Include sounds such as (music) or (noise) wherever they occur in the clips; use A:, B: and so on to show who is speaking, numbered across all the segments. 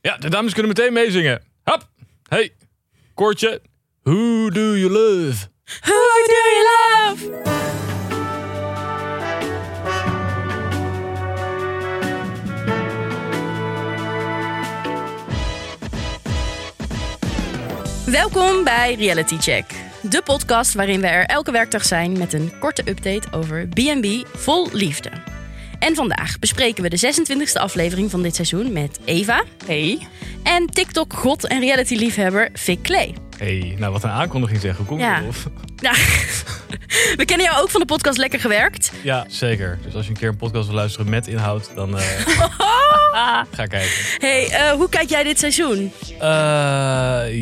A: Ja, de dames kunnen meteen meezingen. Hap! Hey, koortje. Who do you love?
B: Who do you love? Welkom bij Reality Check, de podcast waarin we er elke werkdag zijn met een korte update over B&B vol liefde. En vandaag bespreken we de 26e aflevering van dit seizoen met Eva
C: Hey.
B: en TikTok-god en reality-liefhebber Vic Clay.
A: hey, nou wat een aankondiging zeg. Hoe kom je
B: Ja. (laughs)
A: erop?
B: Nou, we kennen jou ook van de podcast Lekker Gewerkt.
A: Ja, zeker. Dus als je een keer een podcast wil luisteren met inhoud, dan eh, ga kijken.
B: Hey, eh, hoe kijk jij dit seizoen?
A: Eh,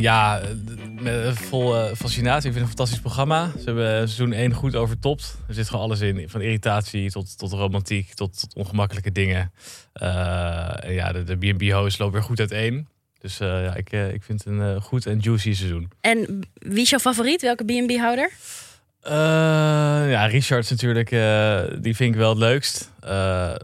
A: ja, d- met, eh, vol eh, fascinatie. Ik vind het een fantastisch programma. Ze hebben eh, seizoen 1 goed overtopt. Er zit gewoon alles in. Van irritatie tot, tot romantiek, tot, tot ongemakkelijke dingen. Eh, en ja, de de B&B-host loopt weer goed uiteen. Dus eh, ja, ik, eh, ik vind het een eh, goed en juicy seizoen.
B: En wie is jouw favoriet? Welke B&B-houder?
A: Eh, ja, Richard is natuurlijk, eh, die vind ik wel het leukst. Eh,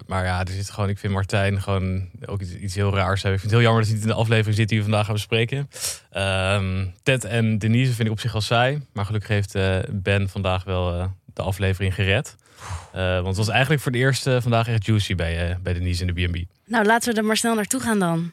A: maar ja, er zit gewoon, ik vind Martijn gewoon ook iets, iets heel raars hebben. Ik vind het heel jammer dat hij niet in de aflevering zit die we vandaag gaan bespreken. Ehm, Ted en Denise vind ik op zich al saai. Maar gelukkig heeft eh, Ben vandaag wel eh, de aflevering gered. Eh, want het was eigenlijk voor het eerst eh, vandaag echt juicy bij, eh, bij Denise in de B&B.
B: Nou, laten we er maar snel naartoe gaan dan.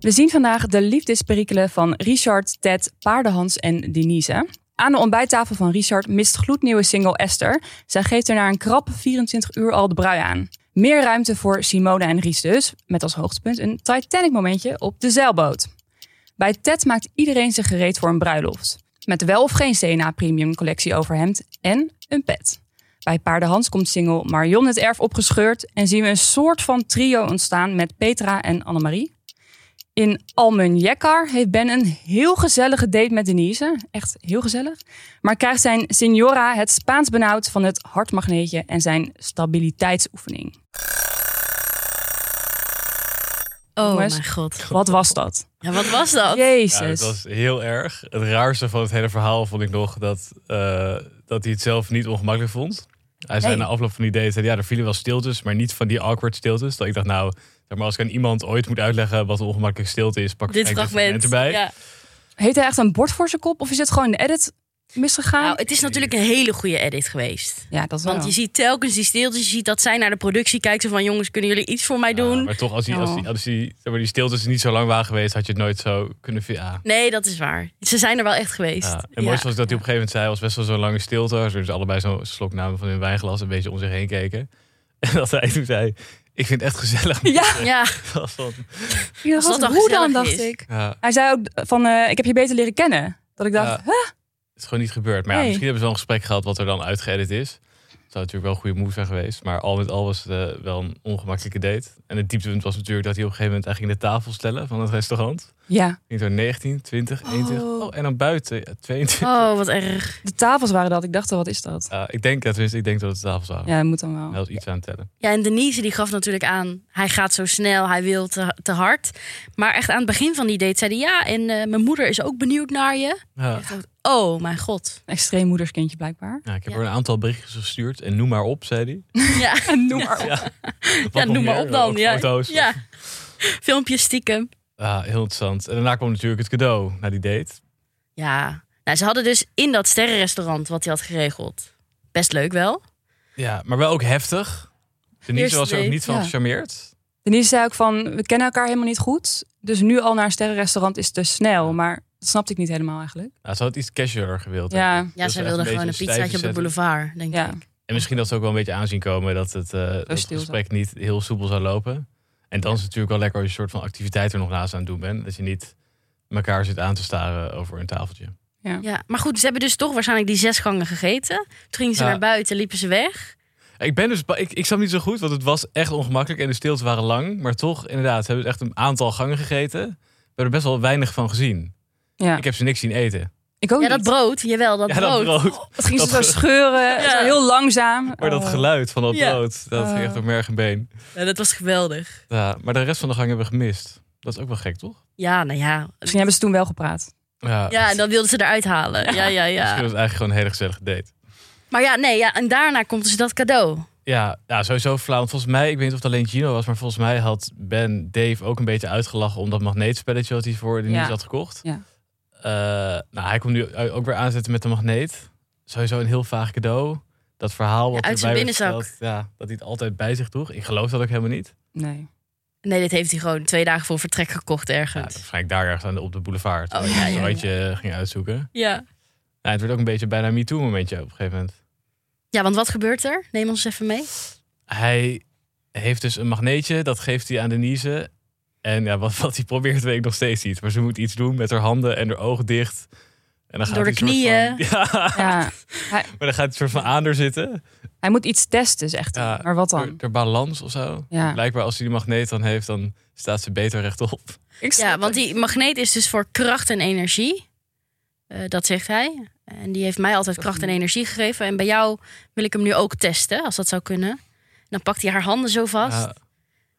C: We zien vandaag de liefdesperikelen van Richard, Ted, Paardenhans en Denise. Aan de ontbijttafel van Richard mist gloednieuwe single Esther. Zij geeft er na een krap 24 uur al de brui aan. Meer ruimte voor Simone en Ries dus, met als hoogtepunt een Titanic momentje op de zeilboot. Bij Ted maakt iedereen zich gereed voor een bruiloft. Met wel of geen CNA Premium collectie overhemd en een pet. Bij Paardenhans komt single Marion het erf opgescheurd en zien we een soort van trio ontstaan met Petra en Annemarie. In Almenjekkar heeft Ben een heel gezellige date met Denise. Echt heel gezellig. Maar krijgt zijn signora het Spaans benauwd van het hartmagneetje en zijn stabiliteitsoefening.
B: Oh
C: Jongens.
B: mijn god.
C: Wat was dat?
B: Ja, wat was dat?
C: Jezus.
A: Ja, dat was heel erg. Het raarste van het hele verhaal vond ik nog dat, eh, dat hij het zelf niet ongemakkelijk vond. Hij zei
C: Nee.
A: na afloop van die date, zei hij, ja, er vielen wel stiltes, maar niet van die awkward stiltes. Dat ik dacht, nou, zeg maar, als ik aan iemand ooit moet uitleggen wat een ongemakkelijke stilte is, pak ik
B: Dit
A: gelijk
B: fragment.
A: erbij.
B: Ja.
C: Heeft hij echt een bord voor zijn kop of is het gewoon in de edit misgegaan?
B: Nou, het is natuurlijk een hele goede edit geweest.
C: ja, dat wel.
B: Want je ziet telkens die stilte, je ziet dat zij naar de productie kijkt. Zo van, jongens, kunnen jullie iets voor mij
A: Ja,
B: doen?
A: maar toch, als die, als die,
C: Oh.
A: als die, zeg maar, die stiltes niet zo lang waren geweest, had je het nooit zo kunnen... vi- Ja.
B: Nee, dat is waar. Ze zijn er wel echt geweest.
A: Ja, en
B: Ja.
A: het mooiste was dat hij op een gegeven moment zei, was best wel zo'n lange stilte. Ze dus allebei zo'n slok namen van hun wijnglas, een beetje om zich heen keken. (laughs) En dat hij toen zei, ik vind het echt gezellig.
C: Ja,
B: Ja,
A: (laughs) Dat was dan-
C: ja,
B: Als dat
C: wat-
B: dan
C: hoe dan,
B: gezellig
C: dacht
B: is.
C: ik.
A: ja.
C: Hij zei ook van, eh, ik heb je beter leren kennen. Dat ik dacht,
A: Ja.
C: huh?
A: Het is gewoon niet gebeurd. Maar ja,
C: Nee.
A: misschien hebben ze wel een gesprek gehad wat er dan uitgeëdit is. Het zou natuurlijk wel een goede move zijn geweest. Maar al met al was het eh, wel een ongemakkelijke date. En het dieptepunt was natuurlijk dat hij op een gegeven moment eigenlijk de tafel stellen van het restaurant.
C: Ja,
A: Ging zo 19, 20, 21.
C: Oh.
A: Oh, en dan buiten ja, 22.
B: oh, wat erg.
C: de tafels waren dat. Ik dacht, al, wat is dat?
A: Ja, ik denk dat tenminste, ik denk dat het de tafels waren.
C: Ja, dat moet dan wel.
A: Hij was iets aan het tellen.
B: Ja, en Denise die gaf natuurlijk aan, hij gaat zo snel, hij wil te, te hard. Maar echt aan het begin van die date zei hij ja, en eh, mijn moeder is ook benieuwd naar je.
A: Ja.
B: Oh mijn god. (laughs)
C: Een extreem moederskindje blijkbaar.
A: Ja, ik heb
B: Ja.
A: er een aantal berichtjes gestuurd en noem maar op, zei hij.
B: Ja,
C: En noem maar op.
A: Ja, Wat
B: (laughs) ja
A: nog
B: noem maar
A: meer?
B: op dan.
A: Ook
B: Ja.
A: Foto's.
B: ja. Filmpjes stiekem.
A: Ja, Ah, heel interessant. En daarna kwam natuurlijk het cadeau na die date.
B: Ja. Nou, ze hadden dus in dat sterrenrestaurant wat hij had geregeld. Best leuk wel.
A: Ja, maar wel ook heftig. Denise
B: Eerste
A: was er ook
B: date,
A: niet van
C: ja.
A: gecharmeerd.
C: Denise zei ook van, we kennen elkaar helemaal niet goed. Dus nu al naar een sterrenrestaurant is te snel. Maar dat snapte ik niet helemaal eigenlijk.
A: Nou, ze had iets casualer gewild. denk
C: Ja.
A: ik.
B: Ja,
A: Dat
B: ze
A: echt
B: wilden
A: beetje
B: gewoon een
A: stijve
B: pizzaatje op de
A: zetten.
B: boulevard, denk
C: Ja.
B: ik.
A: En misschien dat ze ook wel een beetje aanzien komen dat het, eh, dat het
C: stil
A: gesprek niet heel soepel zou lopen. En dan is het natuurlijk wel lekker als je een soort van activiteit er nog naast aan het doen bent. Dat je niet elkaar zit aan te staren over een tafeltje.
B: Ja, maar goed, ze hebben dus toch waarschijnlijk die zes gangen gegeten. Toen gingen ze
A: Ja.
B: naar buiten, liepen ze weg.
A: Ik ben dus, ba- ik, ik snap niet zo goed, want het was echt ongemakkelijk en de stilte waren lang. Maar toch, inderdaad, ze hebben echt een aantal gangen gegeten. We hebben er best wel weinig van gezien.
C: Ja,
A: Ik
C: ik,
A: heb ze niks zien eten.
C: ook
B: Ja, dat
C: niet.
B: brood, jawel, dat
A: ja, dat
B: brood.
A: brood.
C: Het ging
A: dat
C: zo (laughs)
A: ge-
C: scheuren,
B: Ja.
C: zo heel langzaam.
A: Maar dat
C: Oh.
A: geluid van dat
B: Ja.
A: brood, dat ging echt
C: Oh.
A: op merg en been.
B: Ja, dat was geweldig.
A: Ja, maar de rest van de gang hebben we gemist. Dat is ook wel gek, toch?
B: Ja, nou ja,
C: Misschien hebben ze toen wel gepraat.
A: Ja,
B: Ja, en dat wilden ze eruit halen. Ja, ja,
A: Misschien
B: ja.
A: was het eigenlijk gewoon een hele gezellige date.
B: Maar ja, nee, ja, en daarna komt dus dat cadeau.
A: Ja, ja, sowieso flauw. Want volgens mij, ik weet niet of het alleen Gino was, maar volgens mij had Ben Dave ook een beetje uitgelachen om dat magneetspelletje wat hij voor de
C: Ja.
A: nieuws had gekocht.
C: Ja.
A: Eh, nou, hij komt nu ook weer aanzetten met de magneet. Sowieso een heel vaag cadeau. Dat verhaal wat
B: Ja, uit
A: erbij
B: zijn
A: werd
B: binnenzak.
A: verteld, ja, dat hij het altijd bij zich droeg. Ik geloof dat ook helemaal niet.
C: Nee.
B: Nee, dit heeft hij gewoon twee dagen voor vertrek gekocht
A: Ja,
B: ergens.
A: waarschijnlijk daar ergens aan de, op de boulevard.
B: Oh,
A: waar
B: ja,
A: hij een
B: ja, ja.
A: restaurantje ging uitzoeken. Nou,
B: Ja.
A: het werd ook een beetje bijna MeToo momentje op een gegeven moment.
B: Ja, want wat gebeurt er? Neem ons even mee.
A: Hij heeft dus een magneetje, dat geeft hij aan Denise. En ja, wat, wat hij probeert, weet ik nog steeds niet. Maar ze moet iets doen met haar handen en haar ogen dicht. En dan gaat
B: Door de
A: hij soort
B: knieën.
A: van- (laughs) ja,
C: Ja,
A: maar dan gaat hij soort van aan er zitten.
C: hij moet iets testen, zegt hij.
A: Ja,
C: maar wat
A: Door,
C: dan?
A: door balans of zo.
C: Ja.
A: Blijkbaar als hij die magneet dan heeft, dan staat ze beter rechtop.
C: Ik snap
B: Ja, want
C: het.
B: die magneet is dus voor kracht en energie. Eh, dat zegt hij. En die heeft mij altijd kracht en energie gegeven. En bij jou wil ik hem nu ook testen, als dat zou kunnen. Dan pakt hij haar handen zo vast.
A: Ja,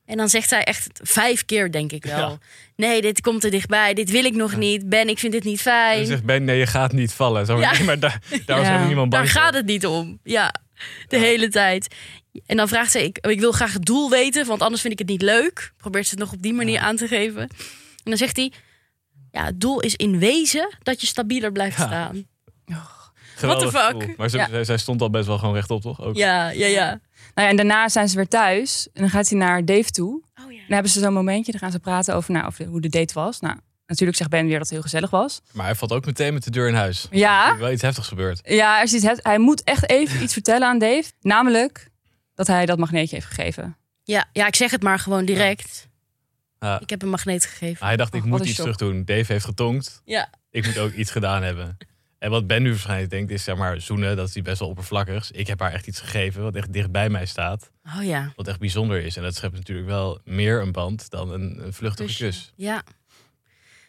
B: En dan zegt zij echt vijf keer, denk ik wel.
A: Ja.
B: Nee, dit komt te dichtbij. Dit wil ik nog niet. Ben, ik vind dit niet
A: en
B: fijn.
A: dan zegt Ben, nee, je gaat niet vallen. Zo,
B: Ja.
A: nee, (laughs) maar daar, daar was
C: Ja.
A: helemaal niemand
B: Daar
A: bang
B: gaat
A: voor.
B: het niet om. Ja, de hele tijd. En dan vraagt ze, ik, ik wil graag het doel weten, want anders vind ik het niet leuk. Probeert ze het nog op die manier aan te geven. En dan zegt hij, ja, het doel is in wezen dat je stabieler blijft
A: Ja.
B: staan.
A: Geweldig
B: What the fuck?
A: gevoel. Maar ze,
C: Ja.
A: zij- zij stond al best wel gewoon rechtop, toch? Ook.
B: Ja, ja, ja.
C: Nou ja, en daarna zijn ze weer thuis. En dan gaat hij naar Dave toe.
B: Oh, ja.
C: En dan hebben ze zo'n momentje. Dan gaan ze praten over, nou, over hoe de date was. Nou, natuurlijk zegt Ben weer dat het heel gezellig was.
A: Maar hij valt ook meteen met de deur in huis. Er
C: Ja,
A: is wel iets heftigs gebeurd.
C: ja er is iets heft- hij moet echt even iets vertellen aan Dave. Namelijk dat hij dat magneetje heeft gegeven.
B: Ja, ja, ik zeg het maar gewoon direct.
A: Ja.
B: Ik heb een magneet gegeven.
A: Hij dacht, ik
C: Och,
A: moet
C: Oh, wat een
A: iets
C: shock.
A: terug doen. Dave heeft getonkt.
B: Ja.
A: Ik moet ook iets gedaan hebben. En wat Ben nu waarschijnlijk denkt, is zeg maar zoenen. Dat is die best wel oppervlakkigs. Ik heb haar echt iets gegeven wat echt dicht bij mij staat.
B: Oh ja.
A: Wat echt bijzonder is. En dat schept natuurlijk wel meer een band dan een, een
C: Dus-
A: vluchtige
B: Kusje.
A: kus.
B: Ja.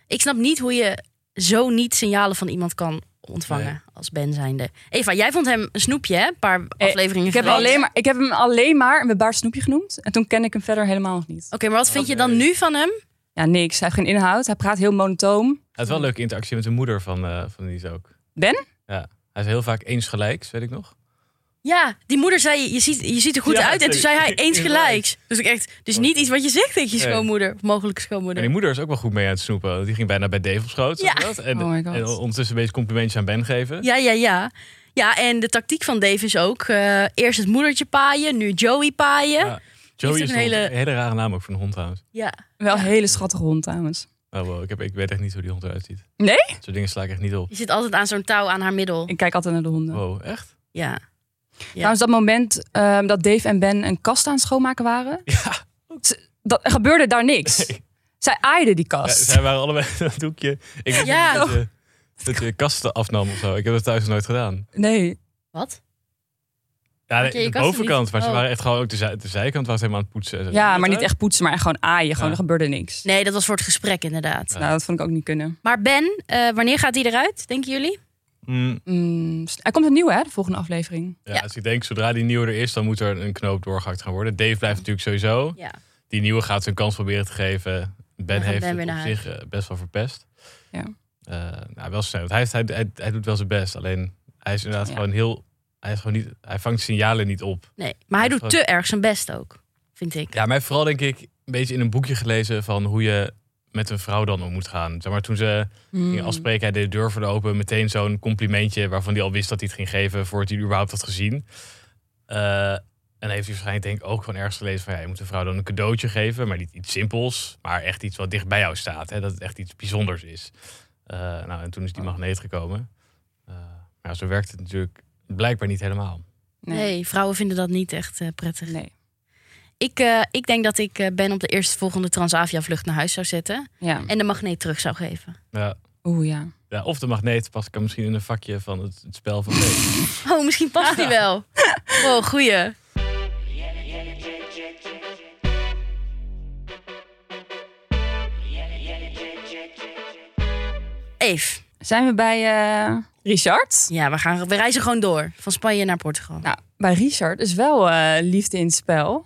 B: Ik snap niet hoe je zo niet signalen van iemand kan ontvangen
A: Nee.
B: als Ben zijnde. Eva, jij vond hem een snoepje, hè? Een paar afleveringen
C: Ik heb,
B: geleden.
C: alleen maar, ik heb hem alleen maar een bebaard snoepje genoemd. En toen ken ik hem verder helemaal nog niet.
B: Oké, maar wat vind je dan nu van hem?
C: Ja, niks. Hij heeft geen inhoud. Hij praat heel monotoom.
A: Hij had wel een leuke interactie met de moeder van, eh van die ook.
C: Ben?
A: Ja. Hij is heel vaak eensgelijks, weet ik nog.
B: Ja, die moeder zei, je ziet, je ziet er goed
A: Ja,
B: uit. En toen zei hij
A: zeker.
B: eens gelijks. Dus ik echt, dus niet iets wat je zegt tegen je
A: Nee.
B: schoonmoeder. Of mogelijke
A: En
B: schoonmoeder.
A: die moeder is ook wel goed mee aan het snoepen. want Die ging bijna bij Dave op schoot. zag je
B: Ja.
A: dat? En,
C: Oh my God.
A: en ondertussen een beetje complimentjes aan Ben geven.
B: Ja, ja, ja. Ja, en de tactiek van Dave is ook eh, eerst het moedertje paaien, nu Joey paaien. Ja,
A: Ja. Joey
B: ook
A: is
B: een
A: een hele...
B: hele-
A: een hele rare naam ook voor een hond trouwens.
C: Wel een hele schattige hond trouwens.
A: Oh, wow. ik, heb, ik weet echt niet hoe die hond eruit ziet.
C: Nee?
A: Zo'n dingen sla ik echt niet op.
B: je zit altijd aan zo'n touw aan haar middel.
C: Ik kijk altijd naar de honden.
A: Wow,
B: (laughs)
A: echt?
B: Ja.
C: Trouwens, dat moment ehm, dat Dave en Ben een kast aan het schoonmaken waren.
A: Ja.
C: ze- Dat, er gebeurde daar niks.
A: Nee.
C: Zij aaiden die
A: Ja,
C: kast.
A: zij waren allebei aan het doekje. Ik wist
B: Ja. oh.
A: niet dat je, dat je kasten afnam of zo. Ik heb dat thuis nog nooit gedaan.
C: Nee.
B: Wat?
A: Ja,
B: Had je je
A: de
B: kasten
A: bovenkant.
B: niet?
A: Maar ze
B: Oh.
A: waren echt gewoon ook de, zij- de zijkant was helemaal aan het poetsen. en zo.
C: Ja, maar niet echt poetsen, maar gewoon aaien. Gewoon,
A: Ja.
C: er gebeurde niks.
B: Nee, dat was voor het gesprek inderdaad.
A: Ja.
C: Nou, dat vond ik ook niet kunnen.
B: Maar Ben, eh, wanneer gaat die eruit, denken jullie?
A: Mm,
C: Mm, hij komt een nieuwe, hè, de volgende aflevering.
A: ja,
B: Ja.
A: Dus ik denk, zodra die nieuwe er is, dan moet er een knoop doorgehakt gaan worden. Dave blijft natuurlijk sowieso.
B: Ja.
A: Die nieuwe gaat zijn kans proberen te geven. Ben
B: gaat
A: heeft
B: Ben weer
A: het op
B: naar
A: zich eh, best wel verpest.
C: Ja.
A: Eh, nou, wel snel. want Hij, heeft- hij, hij, hij doet wel zijn best. Alleen, hij is inderdaad
C: Ja.
A: gewoon heel... Hij, is gewoon niet, hij vangt signalen niet op.
B: Nee, maar hij
A: Dat
B: doet
A: is
B: te erg zijn best ook, vind ik.
A: Ja, maar hij heeft vooral denk ik een beetje in een boekje gelezen van hoe je met een vrouw dan om moet gaan. Zeg maar toen ze
C: Mm.
A: ging afspreken, hij deed de deur voor de open. Meteen zo'n complimentje waarvan hij al wist dat hij het ging geven voordat hij het überhaupt had gezien. Eh, en heeft hij waarschijnlijk denk ik ook gewoon ergens gelezen van ja, je moet een vrouw dan een cadeautje geven. Maar niet iets simpels, maar echt iets wat dicht bij jou staat. Hè, dat het echt iets bijzonders is. Eh, nou, en toen is die
C: Ah.
A: magneet gekomen. Eh, maar ja, zo werkt het natuurlijk blijkbaar niet helemaal.
B: Nee,
C: Nee.
B: vrouwen vinden dat niet echt eh, prettig.
C: Nee.
B: Ik, eh, ik denk dat ik eh, Ben op de eerste volgende Transavia-vlucht naar huis zou zetten.
C: Ja.
B: En de magneet terug zou geven.
A: Ja.
C: Oeh, ja.
A: Ja, of de magneet past kan misschien in een vakje van het, het spel van Dave.
B: Oh, misschien past die wel. Wow, goeie. Eve.
C: Zijn we bij eh, Richard?
B: Ja, we, gaan, we reizen gewoon door. Van Spanje naar Portugal.
C: Nou, bij Richard is wel eh, liefde in het spel.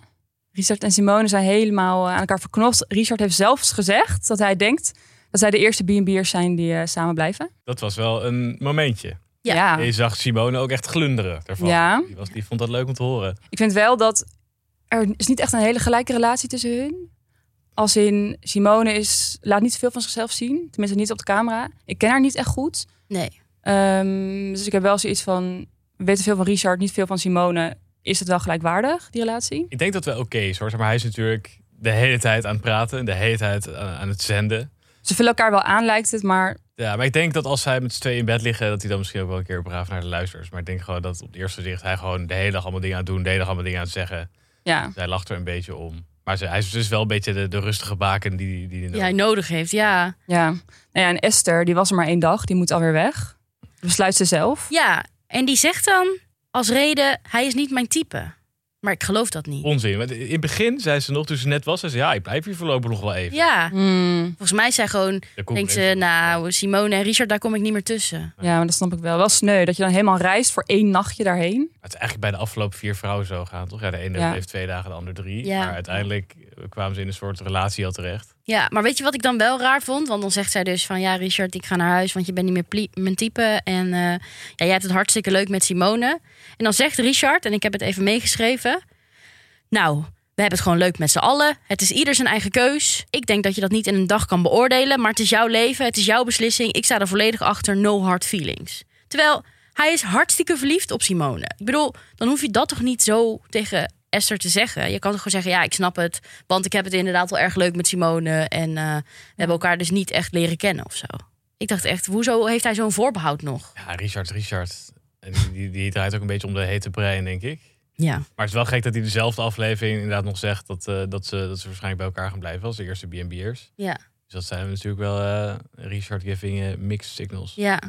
C: Richard en Simone zijn helemaal eh, aan elkaar verknocht. Richard heeft zelfs gezegd dat hij denkt Dat zij de eerste B&B'ers zijn die eh, samen blijven.
A: Dat was wel een momentje.
B: Ja.
A: Je zag Simone ook echt glunderen daarvan.
C: Ah. Ja.
A: Die, was, die vond dat leuk om te horen.
C: Ik vind wel dat er is niet echt een hele gelijke relatie tussen hun. Als in Simone is, laat niet veel van zichzelf zien. Tenminste niet op de camera. Ik ken haar niet echt goed.
B: Nee.
C: Ehm, dus ik heb wel zoiets van, we weten veel van Richard, niet veel van Simone. Is het wel gelijkwaardig, die relatie?
A: Ik denk dat wel oké is hoor. Maar hij is natuurlijk de hele tijd aan het praten. en De hele tijd aan, aan het zenden.
C: Ze vullen elkaar wel aan, lijkt het. Maar
A: Ja, maar ik denk dat als zij met z'n tweeën in bed liggen... dat hij dan misschien ook wel een keer braaf naar de luistert. Maar ik denk gewoon dat op het eerste gezicht... hij gewoon de hele dag allemaal dingen aan het doen. De hele dag allemaal dingen aan het zeggen.
C: ja,
A: Zij lacht er een beetje om. Maar ze, hij is dus wel een beetje de, de rustige baken die... die, die
B: Die hij nodig heeft, ja.
C: ja. Nou ja, en Esther, die was er maar één dag. Die moet alweer weg. Besluit ze zelf.
B: Ja, en die zegt dan als reden, hij is niet mijn type. Maar ik geloof dat niet.
A: Onzin. Want In het begin zei ze nog, toen ze net was... zei ze, ja, ik blijf hier voorlopig nog wel even.
B: Ja,
C: Hmm,
B: volgens mij zijn gewoon,
A: Daar komt
B: denkt
A: er
B: ze,
A: even-
B: nou, Simone en Richard, daar kom ik niet meer tussen.
C: ja, maar dat snap ik wel. Wel sneu dat je dan helemaal reist voor één nachtje daarheen.
A: Maar Het is eigenlijk bij de afgelopen vier vrouwen zo gaan, toch? Ja, de ene
C: Ja.
A: heeft twee dagen, de ander drie.
B: Ja.
A: Maar uiteindelijk eh, kwamen ze in een soort relatie al terecht.
B: Ja, maar weet je wat ik dan wel raar vond? Want dan zegt zij dus van, ja, Richard, ik ga naar huis, want je bent niet meer plie- mijn type. En eh, ja, jij hebt het hartstikke leuk met Simone. En dan zegt Richard, en ik heb het even meegeschreven, nou, we hebben het gewoon leuk met z'n allen. Het is ieder zijn eigen keus. Ik denk dat je dat niet in een dag kan beoordelen, maar het is jouw leven, het is jouw beslissing. Ik sta er volledig achter, no hard feelings. Terwijl hij is hartstikke verliefd op Simone. Ik bedoel, dan hoef je dat toch niet zo tegen Esther te zeggen. Je kan toch gewoon zeggen, ja, ik snap het, want ik heb het inderdaad wel erg leuk met Simone en eh, we hebben elkaar dus niet echt leren kennen of zo. Ik dacht echt, hoezo heeft hij zo'n voorbehoud nog?
A: Ja, Richard, Richard. En die, die, die draait ook een beetje om de hete brein, denk ik.
B: Ja.
A: Maar het is wel gek dat hij dezelfde aflevering inderdaad nog zegt... dat, eh, dat, ze, dat ze waarschijnlijk bij elkaar gaan blijven als de eerste B&B'ers.
B: Ja.
A: Dus dat zijn natuurlijk wel eh, Richard giving eh, mixed signals.
B: Ja.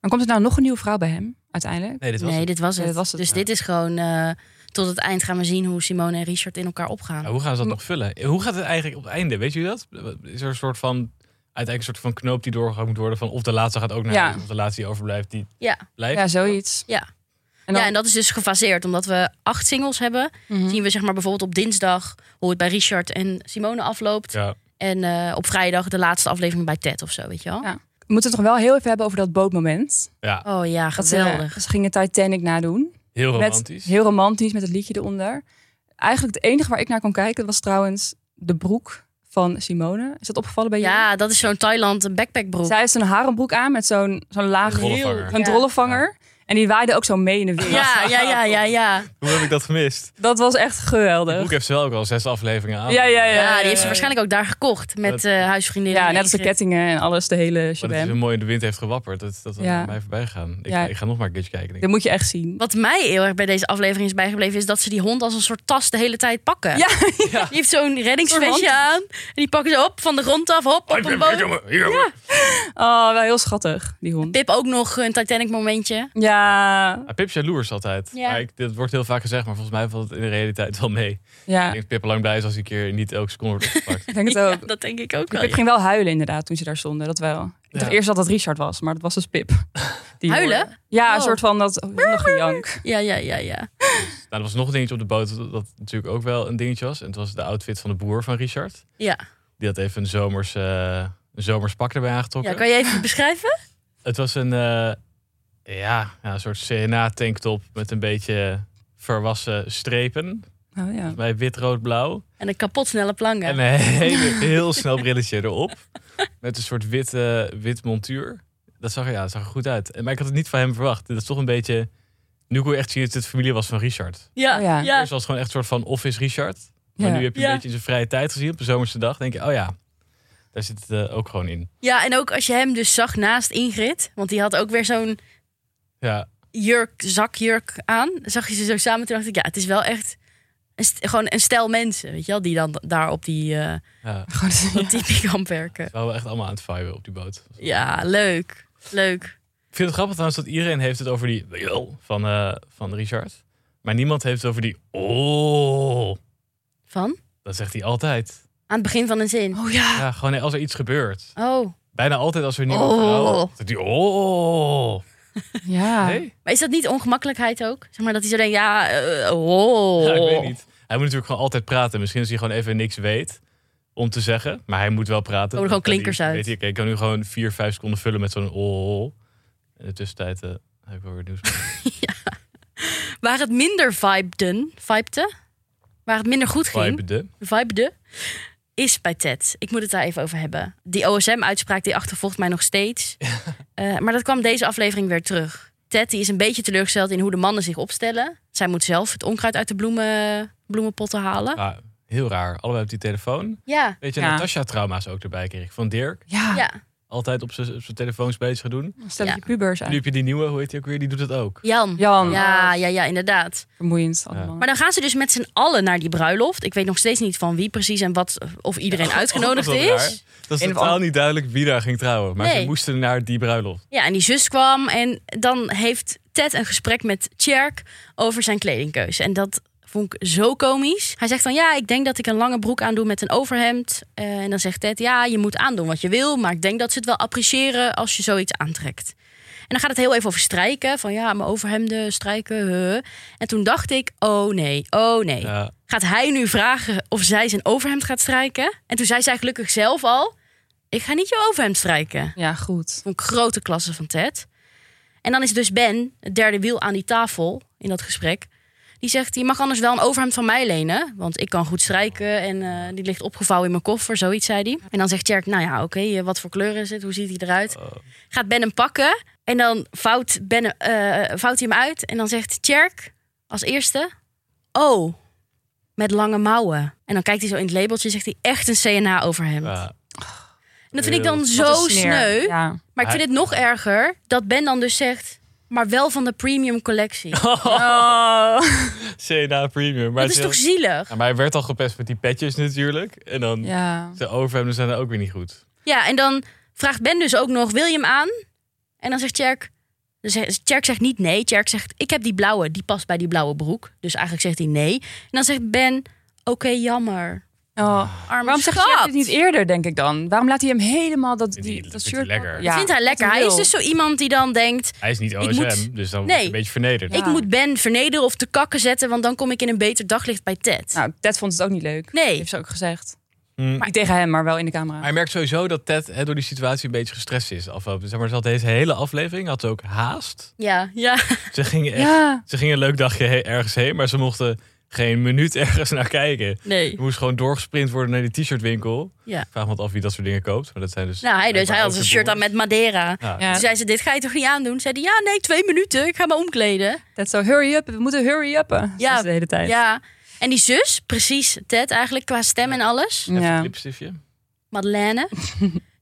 C: Dan komt er nou nog een nieuwe vrouw bij hem, uiteindelijk.
A: Nee, dit was
B: nee,
A: het.
B: dit was
C: Ja,
B: het.
C: dit was het,
B: dus
A: ja.
B: dit is gewoon eh, tot het eind gaan we zien hoe Simone en Richard in elkaar opgaan.
A: Ja, hoe gaan ze dat nog vullen? Hoe gaat het eigenlijk op het einde? Weet je dat? Is er een soort van uiteindelijk een soort van knoop die doorgegaan moet worden van of de laatste gaat ook naar
C: Ja.
A: huis, of de laatste die overblijft die
B: Ja.
A: blijft.
C: Ja, zoiets.
B: Ja.
C: En dan,
B: Ja, en dat is dus gefaseerd. Omdat we acht singles hebben,
C: Mhm.
B: zien we zeg maar bijvoorbeeld op dinsdag hoe het bij Richard en Simone afloopt.
A: Ja.
B: En eh, op vrijdag de laatste aflevering bij Ted of zo, weet je wel.
C: Ja. We moeten het toch wel heel even hebben over dat bootmoment.
A: ja,
B: Oh ja,
C: Dat eh, ze,
B: geweldig.
C: ze gingen Titanic nadoen.
A: heel
C: Met-
A: romantisch.
C: Heel romantisch met het liedje eronder. Eigenlijk het enige waar ik naar kon kijken was trouwens de broek van Simone. Is dat opgevallen bij jou?
B: Ja, dat is zo'n Thailand backpackbroek.
C: Oh Zij heeft een harenbroek aan met zo'n zo'n laag
A: Een rollenvanger.
C: Een
B: Ja.
C: drollenvanger. En die waaide ook zo mee in de weer.
B: Ja, ja, ja, ja, ja.
A: Hoe heb ik dat gemist?
C: Dat was echt
A: De
C: geweldig.
A: boek heeft ze wel ook al zes afleveringen aan.
C: Ja, ja, ja.
B: Ja, die heeft ze waarschijnlijk ook daar gekocht met
A: Dat-
B: eh huisvriendinnen.
C: Ja,
B: en
C: net als de
B: Ingrid.
C: kettingen en alles, de hele
A: Maar dat is
C: shabam.
A: een mooie de wind heeft gewapperd. Dat dat
C: Ja.
A: aan mij voorbij gaan. Ik,
C: Ja.
A: ik ga nog maar een keertje kijken. denk ik.
C: Dat moet je echt zien.
B: Wat mij heel erg bij deze aflevering is bijgebleven, is dat ze die hond als een soort tas de hele tijd pakken.
C: Ja.
B: (laughs) Die heeft zo'n reddingsvestje
C: Een
B: aan. En die pakken ze op van de grond af, hop, op een boot.
C: Oh, wel heel schattig, die hond.
B: Pip ook nog een Titanic momentje.
C: Ja,
A: Ah, Pip is jaloers altijd.
B: Ja.
A: Maar ik, dit wordt heel vaak gezegd, maar volgens mij valt het in de realiteit wel mee. Ik
C: ja.
A: denk dat Pip al lang blij is als hij een keer niet elke seconde wordt opgepakt.
B: (laughs)
C: Ik denk het
B: Ja,
C: ook.
B: dat denk ik ook
C: Die
B: wel.
C: Pip ging wel huilen inderdaad toen ze daar stonden, dat wel. Ik dacht
A: Ja.
C: eerst dat dat Richard was, maar dat was dus
B: (laughs)
C: Pip. Die
B: Huilen?
C: hoorde. Ja, een
B: Oh.
C: soort van dat nog jank.
B: Ja, ja, ja, ja.
A: Nou, er was nog een dingetje op de boot dat, dat natuurlijk ook wel een dingetje was. En het was de outfit van de boer van Richard.
B: Ja,
A: Die had even een zomers, eh, een zomers pak erbij aangetrokken.
B: ja kan je even (laughs) beschrijven?
A: Het was een, eh, ja, ja, een soort CNA-tanktop met een beetje verwassen strepen.
C: Oh, ja.
A: Bij wit, rood, blauw.
B: En een kapot snelle plangen.
A: En een hele, heel snel brilletje erop. Met een soort wit, eh, wit montuur. Dat zag, er- ja, dat zag er goed uit. En- Maar ik had het niet van hem verwacht. Dat is toch een beetje... Nu kon je echt zien dat het familie was van Richard.
B: ja,
C: Oh ja.
B: ja.
A: Eerst was het gewoon echt een soort van office Richard. Maar
C: Ja.
A: nu heb je een
B: Ja.
A: beetje in zijn vrije tijd gezien op een zomerse dag. denk je, oh ja, daar zit het eh, ook gewoon in.
B: Ja, en ook als je hem dus zag naast Ingrid, want die had ook weer zo'n
A: Ja,
B: jurk, zakjurk aan. Zag je ze zo samen, toen dacht ik, ja, het is wel echt een st- gewoon een stel mensen, weet je wel, die dan d- daar op die eh
A: ja.
C: Gewoon-
B: op die kamp werken.
A: We waren echt allemaal aan het viben op die boot.
B: Ja, leuk. Leuk.
A: Ik vind het grappig trouwens dat iedereen heeft het over die "Yo" van, eh, van Richard. Maar niemand heeft het over die oh.
B: Van?
A: Dat zegt hij altijd.
B: Aan het begin van een zin.
C: Oh ja.
A: Ja, gewoon als er iets gebeurt.
B: Oh.
A: Bijna altijd als er een nieuwe
B: Oh.
A: vrouw... Dat die oh.
B: Ah.
C: Ja.
A: Nee?
B: Maar is dat niet ongemakkelijkheid ook? Zeg maar dat hij zo denkt, ja, eh, oh.
A: Ja, ik weet niet. Hij moet natuurlijk gewoon altijd praten. Misschien als hij gewoon even niks weet. om te zeggen. Maar hij moet wel praten.
B: Komen
A: Dan
B: er gewoon
A: kan
B: klinkers
A: hij-
B: uit.
A: Weet je, kijk, ik kan nu gewoon vier, vijf seconden vullen met zo'n oh. In de tussentijd eh, heb ik wel weer
B: (laughs)
A: nieuws.
B: Waar het minder vibeden, vibete, waar het minder goed ging,
A: Vibede.
B: vibede, is bij Ted. Ik moet het daar even over hebben. Die OSM-uitspraak die achtervolgt mij nog
A: (laughs)
B: steeds. Eh, maar dat kwam deze aflevering weer terug. Ted die is een beetje teleurgesteld in hoe de mannen zich opstellen. Zij moet zelf het onkruid uit de bloemen, bloemenpotten halen.
A: Maar heel raar. Allebei op die telefoon.
B: Ja,
A: Weet je,
C: Ja.
A: Natasha-trauma's ook erbij kreeg ik van Dirk.
C: Ja,
B: ja.
A: Altijd op zijn op zijn telefoons bezig gaan doen.
C: dan stel
B: Ja.
C: je pubers
A: Nu
C: uit.
A: heb je die nieuwe, hoe heet die ook weer? Die doet het ook.
B: Jan.
C: Jan,
B: Ja,
C: oh,
B: ja, ja, inderdaad.
C: vermoeiend allemaal.
B: Maar dan gaan ze dus met z'n allen naar die bruiloft. Ik weet nog steeds niet van wie precies en wat, of iedereen
A: (laughs)
B: uitgenodigd
A: dat is wel raar.
B: is.
A: Dat is
C: In-
A: totaal niet duidelijk wie daar ging trouwen. Maar
B: Nee.
A: ze moesten naar die bruiloft.
B: Ja, en die zus kwam en dan heeft Ted een gesprek met Tjerk over zijn kledingkeuze. En dat vond ik zo komisch. Hij zegt dan, ja, ik denk dat ik een lange broek aandoe met een overhemd. Eh, en dan zegt Ted, ja, je moet aandoen wat je wil, maar ik denk dat ze het wel appreciëren als je zoiets aantrekt. En dan gaat het heel even over strijken, van ja, mijn overhemden strijken. huh. En toen dacht ik, oh nee, oh nee.
A: Ja,
B: Gaat hij nu vragen of zij zijn overhemd gaat strijken? En toen zei zij gelukkig zelf al, ik ga niet jouw overhemd strijken.
C: Ja, goed.
B: Vond ik grote klasse van Ted. En dan is dus Ben, het derde wiel aan die tafel in dat gesprek. Die zegt, je mag anders wel een overhemd van mij lenen. Want ik kan goed strijken en eh, die ligt opgevouwen in mijn koffer. Zoiets zei hij. En dan zegt Tjerk, nou ja, oké, eh, wat voor kleur is het? Hoe ziet hij eruit? Gaat Ben hem pakken en dan vouwt, ben, hem- eh, vouwt hij hem uit. En dan zegt Tjerk als eerste, oh, met lange mouwen. En dan kijkt hij zo in het labeltje en zegt hij, echt een CNA overhemd.
A: ja.
B: en dat vind ik dan
A: Wat
C: Wat
B: zo
C: een sneer.
B: sneu.
C: Ja.
B: Maar ik vind het nog erger dat Ben dan dus zegt, maar wel van de premium (laughs) collectie. Oh.
A: CNA Premium. Maar,
B: dat
A: het is
B: is toch
A: heel-
B: zielig?
A: Ja, maar hij werd al gepest met die petjes natuurlijk. En dan
C: (laughs) Ja.
A: de overhemden zijn er ook weer niet goed.
B: Ja, en dan vraagt Ben dus ook nog, wil je hem aan? En dan zegt Tjerk, dan zegt- Tjerk zegt niet nee. Tjerk zegt, ik heb die blauwe, die past bij die blauwe broek. Dus eigenlijk zegt hij nee. En dan zegt Ben, oké, jammer.
C: Oh.
A: Ah.
B: Arme
C: Waarom zegt
B: schat.
C: Jack dit niet eerder, denk ik dan? Waarom laat hij hem helemaal dat,
A: Vindt
C: die,
A: hij-
C: dat
A: vindt
C: shirt...
A: hij lekker.
B: Dat vindt hij lekker.
C: wat
B: Hij
C: hij
B: is
C: wil.
B: dus zo iemand die dan denkt,
A: Hij is niet OSM,
B: moet-
A: dus dan wordt
B: Nee.
A: hij een beetje vernederd.
C: Ja.
B: ik moet Ben vernederen of te kakken zetten, want dan kom ik in een beter daglicht bij Ted.
C: Nou, Ted vond het ook niet leuk.
B: Nee.
C: Heeft ze ook gezegd.
A: Hmm.
C: Niet tegen hem, maar wel in de camera.
A: Maar je merkt sowieso dat Ted hè, door die situatie een beetje gestrest is. Afgelopen. Zeg maar, ze had deze hele aflevering had ze ook haast.
B: Ja, ja.
A: Ze gingen, echt,
C: Ja.
A: ze gingen een leuk dagje he- ergens heen, maar ze mochten geen minuut (laughs) ergens naar kijken.
B: Nee.
A: Je moest gewoon doorgesprint worden naar die t-shirtwinkel.
B: Ja.
A: Ik vraag me wat af wie dat soort dingen koopt. Maar dat zijn dus
B: Nou, hij dus.
A: blijkbaar
B: Hij had
A: ook
B: een
A: de
B: shirt aan
A: boys.
B: met Madeira.
A: Ja.
C: Ja.
B: Toen zei ze, dit ga je toch niet aandoen? Zei die, ja, nee, twee minuten. Ik ga me omkleden.
C: Ted zo, hurry up, we moeten hurry uppen.
B: Ja.
C: Ja. De hele tijd.
B: Ja. En die zus, precies Ted eigenlijk, qua stem en alles.
A: Even
C: Ja.
A: een lipstiftje.
B: Madeleine.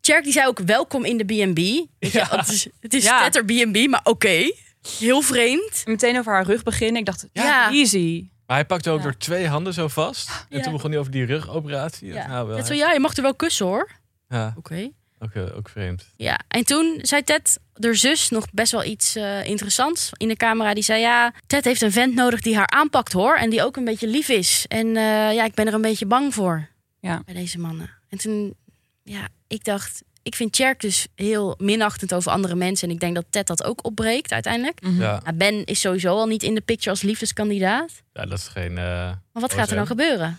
B: Cherk die zei ook, welkom in de B&B. Weet je,
A: Ja.
B: Het is, het is
C: Ja.
B: Ted er B&B, maar oké. Heel vreemd.
C: En Meteen over haar rug beginnen. Ik dacht,
B: Ja.
C: easy.
A: Maar hij pakte ook
C: Ja.
A: door twee handen zo vast. En
B: Ja.
A: toen begon hij over die rugoperatie.
B: Ja.
A: Nou, wel,
B: Ted zo,
A: hè.
B: ja, je mag er wel kussen hoor.
A: Ja,
B: Oké.
A: ook, eh, ook vreemd.
B: Ja, en toen zei Ted, haar zus, nog best wel iets eh, interessants in de camera. Die zei, ja, Ted heeft een vent nodig die haar aanpakt hoor. En die ook een beetje lief is. En eh, ja, ik ben er een beetje bang voor.
C: Ja.
B: Bij deze mannen. En toen, ja, ik dacht... Ik vind Cherk dus heel minachtend over andere mensen. En ik denk dat Ted dat ook opbreekt uiteindelijk.
C: Mhm.
A: Ja.
B: Nou, ben is sowieso al niet in de picture als liefdeskandidaat.
A: ja, dat is geen... eh, Ja,
B: Maar wat gaat er
A: OSM.
B: dan gebeuren?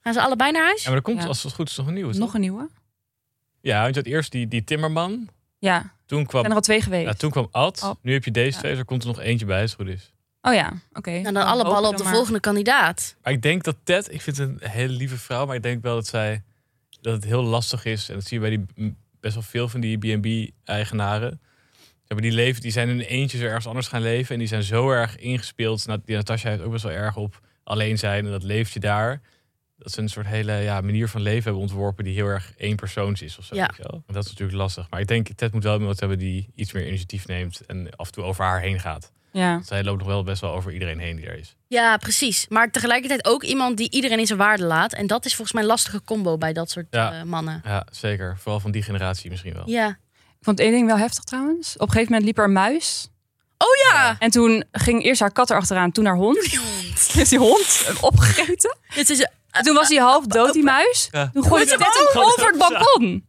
B: Gaan ze allebei naar huis?
A: maar er komt
C: Ja.
A: als het goed is nog een nieuwe. toch?
C: Nog een nieuwe?
A: Ja, want je had eerst die, die Timmerman.
C: Ja. Er
A: Toen kwam,
C: zijn er al twee geweest.
A: ja, toen kwam Ad.
C: Ad.
A: Nu heb je deze
C: Ja.
A: twee. Dus er komt er nog eentje bij, als het goed is.
C: Oh ja, oké.
B: En Nou, dan alle ballen op de
C: volgende.
B: volgende kandidaat.
A: Maar ik denk dat Ted... Ik vind het een hele lieve vrouw. Maar ik denk wel dat zij... Dat het heel lastig is. En dat zie je bij die, m, best wel veel van die B&B-eigenaren. Zeg maar, Die, leven, die zijn in hun eentje zo ergens anders gaan leven. En die zijn zo erg ingespeeld. Nou, die Natasja heeft ook best wel erg op alleen zijn. En dat leef je daar. Dat ze een soort hele ja, manier van leven hebben ontworpen... die heel erg één persoons is of zo.
B: Ja.
A: weet je wel. En dat is natuurlijk lastig. Maar ik denk, Ted moet wel iemand hebben die iets meer initiatief neemt... en af en toe over haar heen gaat.
C: Ja.
A: Zij loopt nog wel best wel over iedereen heen die er is.
B: Ja, precies. Maar tegelijkertijd ook iemand die iedereen in zijn waarde laat. En dat is volgens mij een lastige combo bij dat soort
A: Ja.
B: eh, mannen.
A: Ja, zeker. Vooral van die generatie misschien wel.
B: Ja.
C: Ik vond één ding wel heftig trouwens. Op een gegeven moment liep er een muis.
B: Oh ja!
C: En toen ging eerst haar kat erachteraan, toen haar hond. (laughs) Is die hond hem opgegeten?
B: Het is,
C: En toen was hij half dood, die muis.
A: Ja.
C: Toen gooide ze
A: Gooit
C: net
A: hem
C: hem
A: ook
C: over het balkon.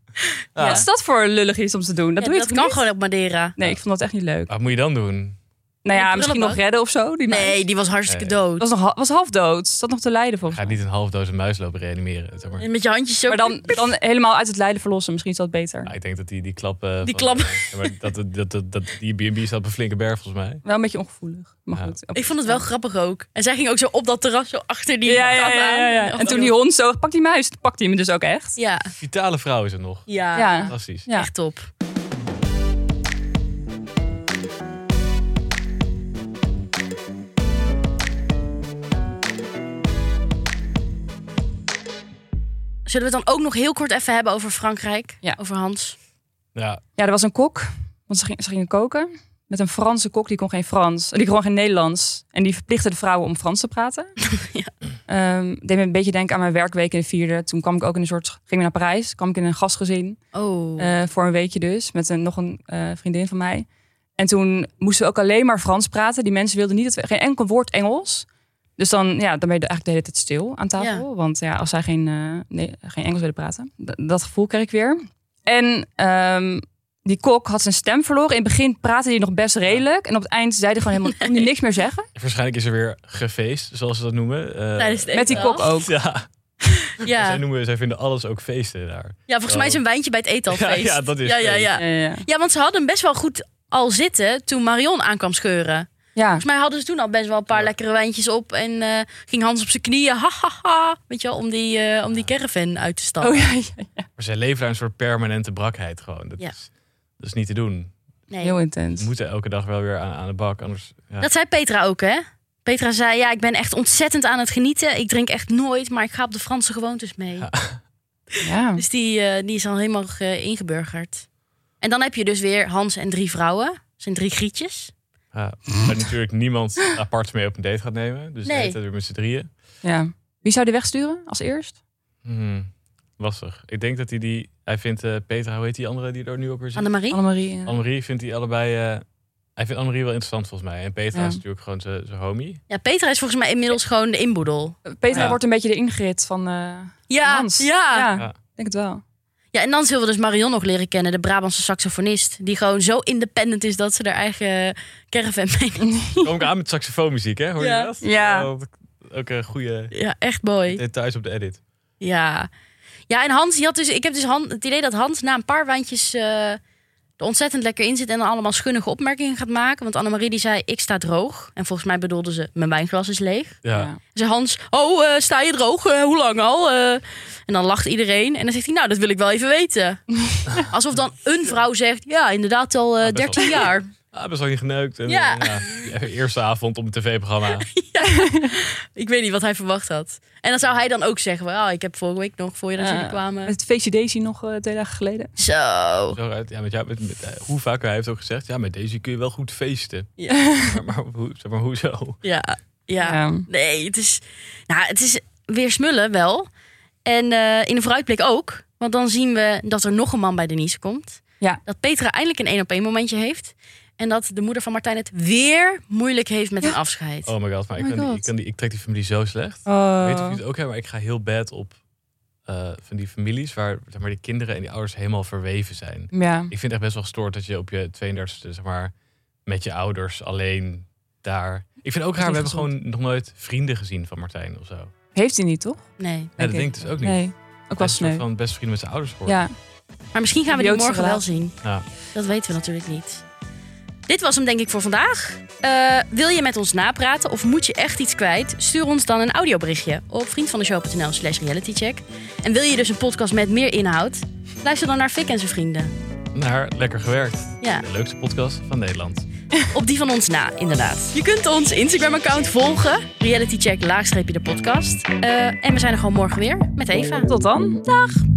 A: Ja.
C: Wat is dat voor lullig iets om te doen? Dat
B: Ja,
C: doe je
B: dat
C: toch
B: kan
C: niet?
B: gewoon op Madeira.
C: Nee, ik vond dat echt niet leuk.
A: Wat moet je dan doen?
C: Nou ja,
B: Een
C: misschien nog
B: prullenbak?
C: redden of zo. Die muis.
B: Nee, die was hartstikke
A: Nee.
B: dood.
C: was, nog, ha- was half dood. Zat nog te lijden volgens
A: Ga niet een half doos een muis lopen reanimeren. Zeg maar.
B: En met je handjes zo.
C: Maar dan, dan helemaal uit het lijden verlossen. Misschien is dat beter.
A: Ja, ik denk dat die, die klap... eh,
B: Die
A: van-
B: klap.
A: Ja, maar dat, dat, dat, dat, die B&B staat op een flinke berg volgens mij.
C: Wel een beetje ongevoelig. Maar
A: Ja.
C: goed.
B: Ik vond het wel grappig ook. En zij ging ook zo op dat terras zo achter die
C: Ja, ja,
B: kat
C: ja,
B: aan.
C: ja, ja.
B: Echt
C: En toen
B: heel-
C: die hond zo, pak die muis. Toen pakte hij me dus ook echt.
B: Ja,
A: Vitale vrouw is er nog.
B: ja,
C: Ja.
A: Fantastisch.
C: Ja.
B: echt top. Zullen we het dan ook nog heel kort even hebben over Frankrijk?
C: Ja.
B: Over Hans?
A: Ja,
C: Ja, er was een kok. Want ze, ging- ze gingen koken. Met een Franse kok, die kon geen Frans. Die kon geen Nederlands. En die verplichtte de vrouwen om Frans te praten. (laughs) ja. deed me een beetje denken aan mijn werkweek in de vierde. Toen kwam ik ook in een soort... Ging naar Parijs. kwam ik in een gastgezin.
B: Oh.
C: eh, voor een weekje dus. Met een, nog een eh, vriendin van mij. En toen moesten we ook alleen maar Frans praten. Die mensen wilden niet dat we... Geen enkel woord Engels. Dus dan, ja, dan ben je eigenlijk de hele tijd stil aan tafel. Want ja, als zij geen, eh, nee, geen Engels willen praten. d- dat gevoel kreeg ik weer. En ehm, die kok had zijn stem verloren. In het begin praatte hij nog best redelijk. En op het eind zei hij gewoon helemaal... (laughs) kon hij niks meer zeggen.
A: waarschijnlijk is er weer gefeest, zoals ze dat noemen. Eh,
B: Tijdens het
C: Met die
B: eten al.
C: kok ook.
A: Ja, zij,
B: Ja.
A: noemen, zij vinden alles ook feesten daar.
B: ja, volgens mij is een wijntje bij het
A: Ja,
B: eetalfeest.
A: ja, dat is
B: ja, ja,
A: feest.
C: Ja,
B: ja.
C: ja, ja.
B: ja, want ze hadden hem best wel goed al zitten toen Marion aankwam scheuren.
C: ja.
B: Volgens mij hadden ze toen al best wel een paar
A: Ja.
B: lekkere wijntjes op. En eh, ging Hans op zijn knieën, (laughs) ha, ha, ha, weet je wel, om die, eh, om die caravan uit te stappen.
C: Oh ja, ja.
A: Maar zij leven daar een soort permanente brakheid gewoon. Dat,
B: Ja.
A: is, dat is niet te doen.
B: nee.
C: heel
A: We
C: intens.
A: moeten elke dag wel weer aan, aan de bak, anders... Ja.
B: Dat zei Petra ook, hè? Petra zei, ja, ik ben echt ontzettend aan het genieten. Ik drink echt nooit, maar ik ga op de Franse gewoontes mee.
C: Ja.
B: Dus die, eh, die is al helemaal eh, ingeburgerd. En dan heb je dus weer Hans en drie vrouwen. Dat zijn drie grietjes.
A: Ja, waar natuurlijk niemand apart mee op een date gaat nemen. Dus
B: Nee.
A: nee. weer met z'n drieën.
C: ja. Wie zou die wegsturen als eerst?
A: Hmm, lastig. Ik denk dat hij die... Hij vindt eh, Petra, hoe heet die andere die er nu ook weer zit?
B: Annemarie.
C: Annemarie. ja.
A: Annemarie vindt hij allebei... eh, hij vindt Annemarie wel interessant volgens mij. En Petra
C: Ja.
A: is natuurlijk gewoon zijn zijn homie. (laughs)
B: Ja, Petra is volgens mij inmiddels gewoon de inboedel.
C: Petra
A: Ja.
C: wordt een beetje de ingrid van eh,
B: Ja,
C: Hans.
B: ja.
C: ja.
A: Ja.
C: Ik denk het wel.
B: Ja, en dan zullen we dus Marion nog leren kennen, de Brabantse saxofonist. Die gewoon zo independent is dat ze haar eigen caravan (laughs) meeneemt.
A: Kom ik aan met saxofoonmuziek, hè? Hoor
B: Ja.
A: je dat?
C: Ja.
A: Oh, ook een goede
B: Ja, echt mooi.
A: details op de edit.
B: Ja. Ja, en Hans, die had dus, ik heb dus Han, het idee dat Hans na een paar wijntjes eh, er ontzettend lekker in zit en dan allemaal schunnige opmerkingen gaat maken. Want Annemarie die zei, ik sta droog. En volgens mij bedoelde ze, mijn wijnglas is leeg.
A: Ja.
C: Ja.
B: Ze zei Hans, oh, eh, sta je droog? Eh, hoe lang al? Eh, en dan lacht iedereen. En dan zegt hij, nou, dat wil ik wel even
A: (laughs)
B: weten. Alsof dan een vrouw zegt, ja, inderdaad al eh,
A: best wel.
B: 13 jaar.
A: Ah, best wel niet geneukt. En, eh,
B: Ja.
A: ja. ja. Eerste avond op een
B: (laughs)
A: tv-programma.
B: Ik weet niet wat hij verwacht had. En dan zou hij dan ook zeggen: "Wauw, ik heb vorige week nog voor je dat jullie
C: Ja.
B: kwamen.
C: Met het feestje Daisy nog eh, twee dagen geleden.
B: Ah. Zo.
A: Zo uit- Ja, met jou, met, met, eh, hoe vaak hij heeft ook gezegd, ja, met deze kun je wel goed feesten.
B: Ja.
A: (laughs)
B: Oh
A: Maar, maar, hoe, zeg maar hoezo?
B: Ja. ja. Nee, het is, nou, het is weer smullen wel. En eh, in de vooruitblik ook. Want dan zien we dat er nog een man bij Denise komt.
C: Ja.
B: Dat Petra eindelijk een één op één momentje heeft. En dat de moeder van Martijn het weer moeilijk heeft met een afscheid.
A: Oh my god, maar
C: Oh my
A: ik, kan
C: god.
A: Die, ik, kan die, ik trek die familie zo slecht.
C: Oh.
A: Ik weet niet of jullie het ook hebben, maar ik ga heel bad op eh, van die families waar zeg maar, die kinderen en die ouders helemaal verweven zijn.
C: Ja.
A: Ik vind het echt best wel gestoord dat je op je 32e, zeg maar, met je ouders alleen daar. Ik vind ook
C: is
A: raar, we
C: niet
A: hebben gewoon nog nooit vrienden gezien van Martijn of zo. Ja,
C: Heeft hij niet, toch?
B: Nee.
A: dat
C: ik.
A: denk ik dus ook niet.
C: Nee. Ook
A: Hij
C: wel
A: is een soort
C: sneu.
A: van best vrienden met zijn ouders geworden.
C: Ja.
B: Maar misschien gaan we die
C: Idiootse
B: morgen wel
C: relatie.
B: zien.
A: Ja.
B: Dat weten we natuurlijk niet. Dit was hem denk ik voor vandaag. Eh, wil je met ons napraten of moet je echt iets kwijt? Stuur ons dan een audioberichtje op vriendvandeshow.nl slash realitycheck. En wil je dus een podcast met meer inhoud? Luister dan naar Fik en zijn vrienden.
A: Naar lekker gewerkt.
B: Ja.
A: De leukste podcast van Nederland.
B: Op die van ons na, inderdaad. Je kunt ons Instagram-account volgen. Realitycheck, laagstreepje de podcast. Eh, en we zijn er gewoon morgen weer met Eva.
C: Tot dan.
B: Dag!